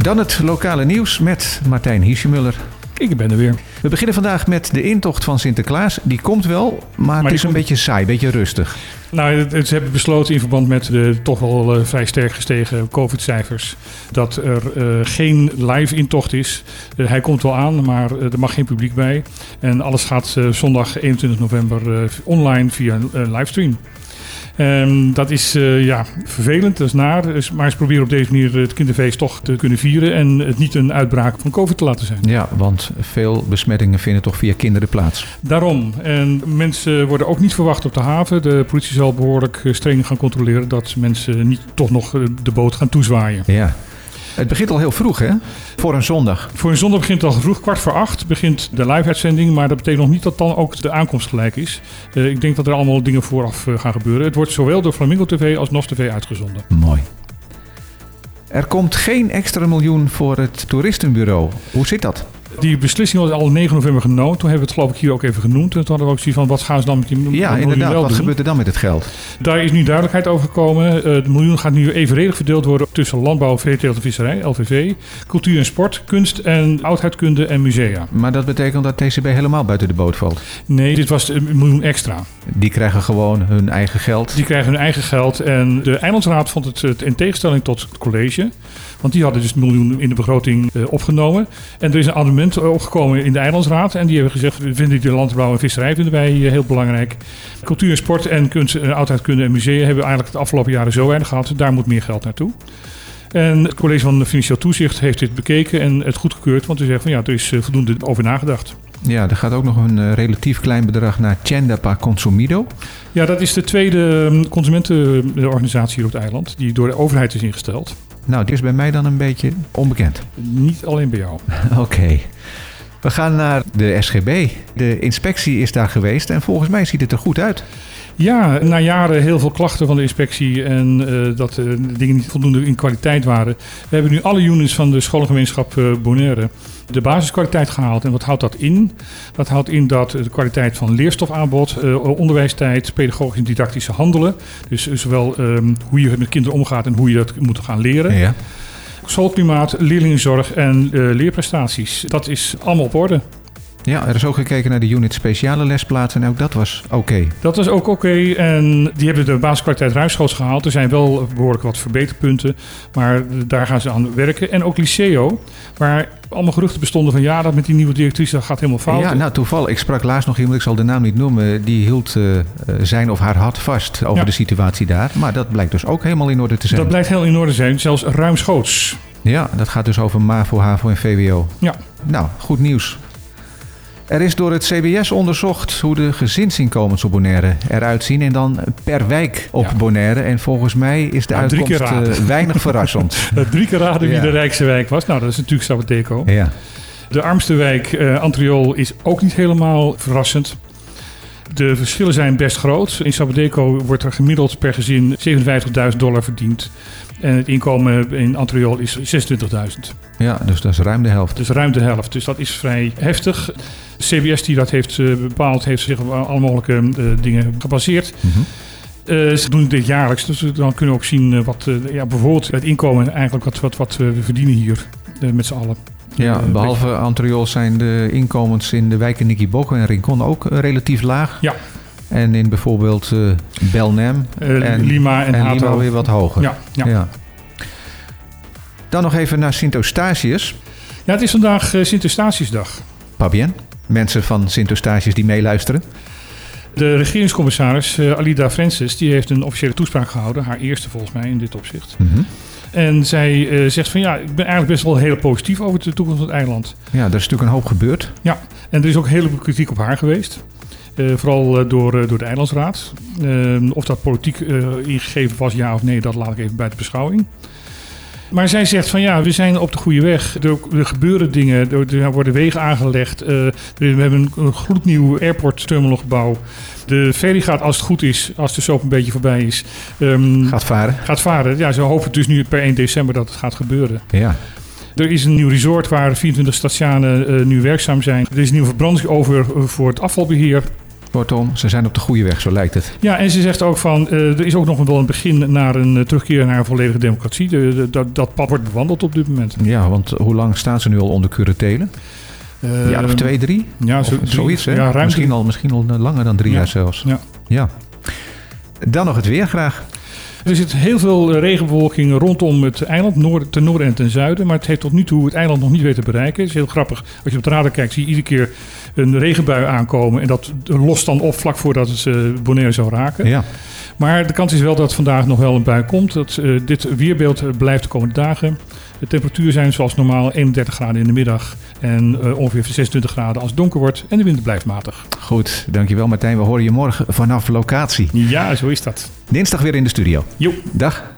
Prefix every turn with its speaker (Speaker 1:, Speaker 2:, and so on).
Speaker 1: Dan het lokale nieuws met Martijn Hiesjemuller.
Speaker 2: Ik ben er weer.
Speaker 1: We beginnen vandaag met de intocht van Sinterklaas. Die komt wel, maar, het
Speaker 2: die
Speaker 1: is een
Speaker 2: komt-
Speaker 1: beetje saai, een beetje rustig.
Speaker 2: Nou, het- het- ze hebben besloten in verband met de toch wel eh, vrij sterk gestegen COVID-cijfers... dat er eh, geen live intocht is. Eh, hij komt wel aan, maar eh, er mag geen publiek bij. En alles gaat eh, zondag 21 november eh, online via een eh, livestream. Ehm, dat is eh, ja, vervelend, dat is naar. Dus- Maar ze proberen op deze manier het kinderfeest toch te kunnen vieren... en het niet een uitbraak van COVID te laten zijn.
Speaker 1: Ja, want veel besmettingen vinden toch via kinderen plaats.
Speaker 2: Daarom. En mensen worden ook niet verwacht op de haven. De politie zal behoorlijk eh, streng gaan controleren dat mensen niet toch nog eh, de boot gaan toezwaaien.
Speaker 1: Ja. Het begint al heel vroeg, hè? Voor een zondag.
Speaker 2: Voor een zondag begint het al vroeg, kwart voor acht begint de live-uitzending. Maar dat betekent nog niet dat dan ook de aankomst gelijk is. Eh, ik denk dat er allemaal dingen vooraf eh, gaan gebeuren. Het wordt zowel door Flamingo TV als NOS TV uitgezonden.
Speaker 1: Mooi. Er komt geen extra miljoen voor het toeristenbureau. Hoe zit dat?
Speaker 2: Die beslissing was al 9 november genomen. Toen hebben we het geloof ik hier ook even genoemd. En toen hadden we ook zoiets van, wat gaan ze dan met die miljoen
Speaker 1: Ja,
Speaker 2: wel
Speaker 1: inderdaad. Wat
Speaker 2: doen?
Speaker 1: gebeurt er dan met het geld?
Speaker 2: Daar is nu duidelijkheid over gekomen. Eh, Het miljoen gaat nu evenredig verdeeld worden tussen landbouw, veeteelt en visserij, LVV, cultuur en sport, kunst en oudheidkunde en musea.
Speaker 1: Maar dat betekent dat TCB helemaal buiten de boot valt.
Speaker 2: Nee, dit was een miljoen extra.
Speaker 1: Die krijgen gewoon hun eigen geld.
Speaker 2: Die krijgen hun eigen geld en de Eilandsraad vond het eh, in tegenstelling tot het college, want die hadden dus een miljoen in de begroting eh, opgenomen. En er is een amendement eh, opgekomen in de Eilandsraad en die hebben gezegd, we vinden de landbouw en visserij vinden wij eh, heel belangrijk. Cultuur en sport en kunst, en oudheidkunde en musea hebben eigenlijk de afgelopen jaren zo weinig gehad, daar moet meer geld naartoe. En het college van Financieel Toezicht heeft dit bekeken en het goedgekeurd, want ze zeggen van ja, er is eh, voldoende over nagedacht.
Speaker 1: Ja, er gaat ook nog een eh, relatief klein bedrag naar Chandapa Consumido.
Speaker 2: Ja, dat is de tweede eh, consumentenorganisatie hier op het eiland, die door de overheid is ingesteld.
Speaker 1: Nou, die is bij mij dan een beetje onbekend.
Speaker 2: Niet alleen bij jou.
Speaker 1: Oké. We gaan naar de SGB. De inspectie is daar geweest en volgens mij ziet het er goed uit.
Speaker 2: Ja, na jaren heel veel klachten van de inspectie en eh, dat eh, de dingen niet voldoende in kwaliteit waren. We hebben nu alle units van de scholengemeenschap eh, Bonaire de basiskwaliteit gehaald. En wat houdt dat in? Dat houdt in dat eh, de kwaliteit van leerstofaanbod, eh, onderwijstijd, pedagogisch en didactische handelen. Dus eh, zowel eh, hoe je met kinderen omgaat en hoe je dat moet gaan leren.
Speaker 1: Ja.
Speaker 2: Schoolklimaat, leerlingenzorg en eh, leerprestaties. Dat is allemaal op orde.
Speaker 1: ja, er is ook gekeken naar de unit speciale lesplaatsen en ook dat was oké.
Speaker 2: Dat is ook oké. En die hebben de basiskwaliteit ruimschoots gehaald. Er zijn wel behoorlijk wat verbeterpunten. Maar daar gaan ze aan werken. En ook Liceo, waar allemaal geruchten bestonden van... ja, dat met die nieuwe directrice dat gaat helemaal fout.
Speaker 1: Ja, nou toeval. Ik sprak laatst nog iemand, ik zal de naam niet noemen, die hield eh, eh, zijn of haar hart vast over
Speaker 2: Ja.
Speaker 1: de situatie daar. Maar dat blijkt dus ook helemaal in orde te zijn.
Speaker 2: dat blijkt heel in orde zijn. Zelfs ruimschoots.
Speaker 1: Ja, dat gaat dus over MAVO, HAVO en VWO.
Speaker 2: Ja.
Speaker 1: Nou, goed nieuws. Er is door het CBS onderzocht hoe de gezinsinkomens op Bonaire eruit zien. En dan per wijk op
Speaker 2: Ja.
Speaker 1: Bonaire. En volgens mij is de
Speaker 2: Nou, drie
Speaker 1: uitkomst
Speaker 2: keer raden.
Speaker 1: eh, weinig verrassend.
Speaker 2: Dat Eh, drie keer raden wie
Speaker 1: Ja.
Speaker 2: de rijkste wijk was. Nou, dat is natuurlijk Sabateco.
Speaker 1: ja.
Speaker 2: De armste wijk, eh Antriol, is ook niet helemaal verrassend. De verschillen zijn best groot. In Sabadeco wordt er gemiddeld per gezin 57.000 dollar verdiend. En het inkomen in Antriol is 26.000.
Speaker 1: ja, dus dat is ruim de helft.
Speaker 2: Dus ruim de helft. Dus dat is vrij heftig. CBS die dat heeft eh, bepaald, heeft zich op alle mogelijke eh, dingen gebaseerd.
Speaker 1: Mhm.
Speaker 2: Eh, ze doen dit jaarlijks, dus dan kunnen we ook zien eh, wat eh, ja, bijvoorbeeld het inkomen eigenlijk wat, wat, wat we verdienen hier eh, met z'n allen.
Speaker 1: Ja,
Speaker 2: Eh,
Speaker 1: behalve Antriol zijn de inkomens in de wijken Nikiboko en Rincon ook eh, relatief laag.
Speaker 2: Ja.
Speaker 1: En in bijvoorbeeld eh Belnam
Speaker 2: eh,
Speaker 1: En-
Speaker 2: Lima en,
Speaker 1: en
Speaker 2: Hato.
Speaker 1: Lima weer wat hoger.
Speaker 2: Ja, ja. ja.
Speaker 1: Ja. Dan nog even naar Sint-Eustatius.
Speaker 2: het is vandaag eh, Sint-Eustatiusdag.
Speaker 1: Pabien, mensen van Sint-Eustatius die meeluisteren.
Speaker 2: De regeringscommissaris eh, Alida Francis die heeft een officiële toespraak gehouden. Haar eerste volgens mij in dit opzicht.
Speaker 1: Mhm.
Speaker 2: En zij eh, zegt van ja, ik ben eigenlijk best wel heel positief over de toekomst van het eiland.
Speaker 1: Ja, er is natuurlijk een hoop gebeurd.
Speaker 2: En er is ook heel veel kritiek op haar geweest. Eh, vooral eh, door, eh, door de Eilandsraad. Eh, of dat politiek eh, ingegeven was, ja of nee, dat laat ik even bij de beschouwing. Maar zij zegt van ja, we zijn op de goede weg. Er, er gebeuren dingen, er, er worden wegen aangelegd. eh, er- we hebben een, een gloednieuw airport terminalgebouw. De ferry gaat als het goed is, als de soap een beetje voorbij is, ehm,
Speaker 1: Gaat varen.
Speaker 2: gaat varen. Ja, ze hopen dus nu per 1 december dat het gaat gebeuren.
Speaker 1: Ja.
Speaker 2: Er is een nieuw resort waar 24 stationen eh, nu werkzaam zijn. Er is een nieuw verbrandingsover voor het eh, afvalbeheer.
Speaker 1: Kortom, ze zijn op de goede weg, zo lijkt het.
Speaker 2: Ja, en ze zegt ook van, eh, er is ook nog wel een begin naar een eh, terugkeer naar een volledige democratie. De- de- dat, dat pad wordt bewandeld op dit moment.
Speaker 1: Ja, want hoe lang staan ze nu al onder curatelen? Een jaar of
Speaker 2: Eh,
Speaker 1: twee, drie?
Speaker 2: Ja,
Speaker 1: Ehm, Of
Speaker 2: zo-
Speaker 1: zoiets, hè?
Speaker 2: Ja, ruim
Speaker 1: misschien,
Speaker 2: drie.
Speaker 1: al, misschien al langer dan drie
Speaker 2: Ja.
Speaker 1: jaar zelfs.
Speaker 2: Ja.
Speaker 1: ja. Dan nog het weer graag.
Speaker 2: Er zit heel veel eh, regenbewolking rondom het eiland, noorden, ten noorden en ten zuiden. Maar het heeft tot nu toe het eiland nog niet weten te bereiken. Het is heel grappig. Als je op de radar kijkt, zie je iedere keer een regenbui aankomen. En dat lost dan op vlak voordat het eh, Bonaire zou raken.
Speaker 1: Ja.
Speaker 2: Maar de kans is wel dat vandaag nog wel een bui komt. Dat, eh, dit weerbeeld eh, blijft de komende dagen. De temperatuur zijn zoals normaal 31 graden in de middag. En eh, ongeveer 26 graden als het donker wordt. En de wind blijft matig.
Speaker 1: Goed, dankjewel Martijn. We horen je morgen vanaf locatie.
Speaker 2: Ja, zo is dat.
Speaker 1: Dinsdag weer in de studio.
Speaker 2: Jo.
Speaker 1: Dag.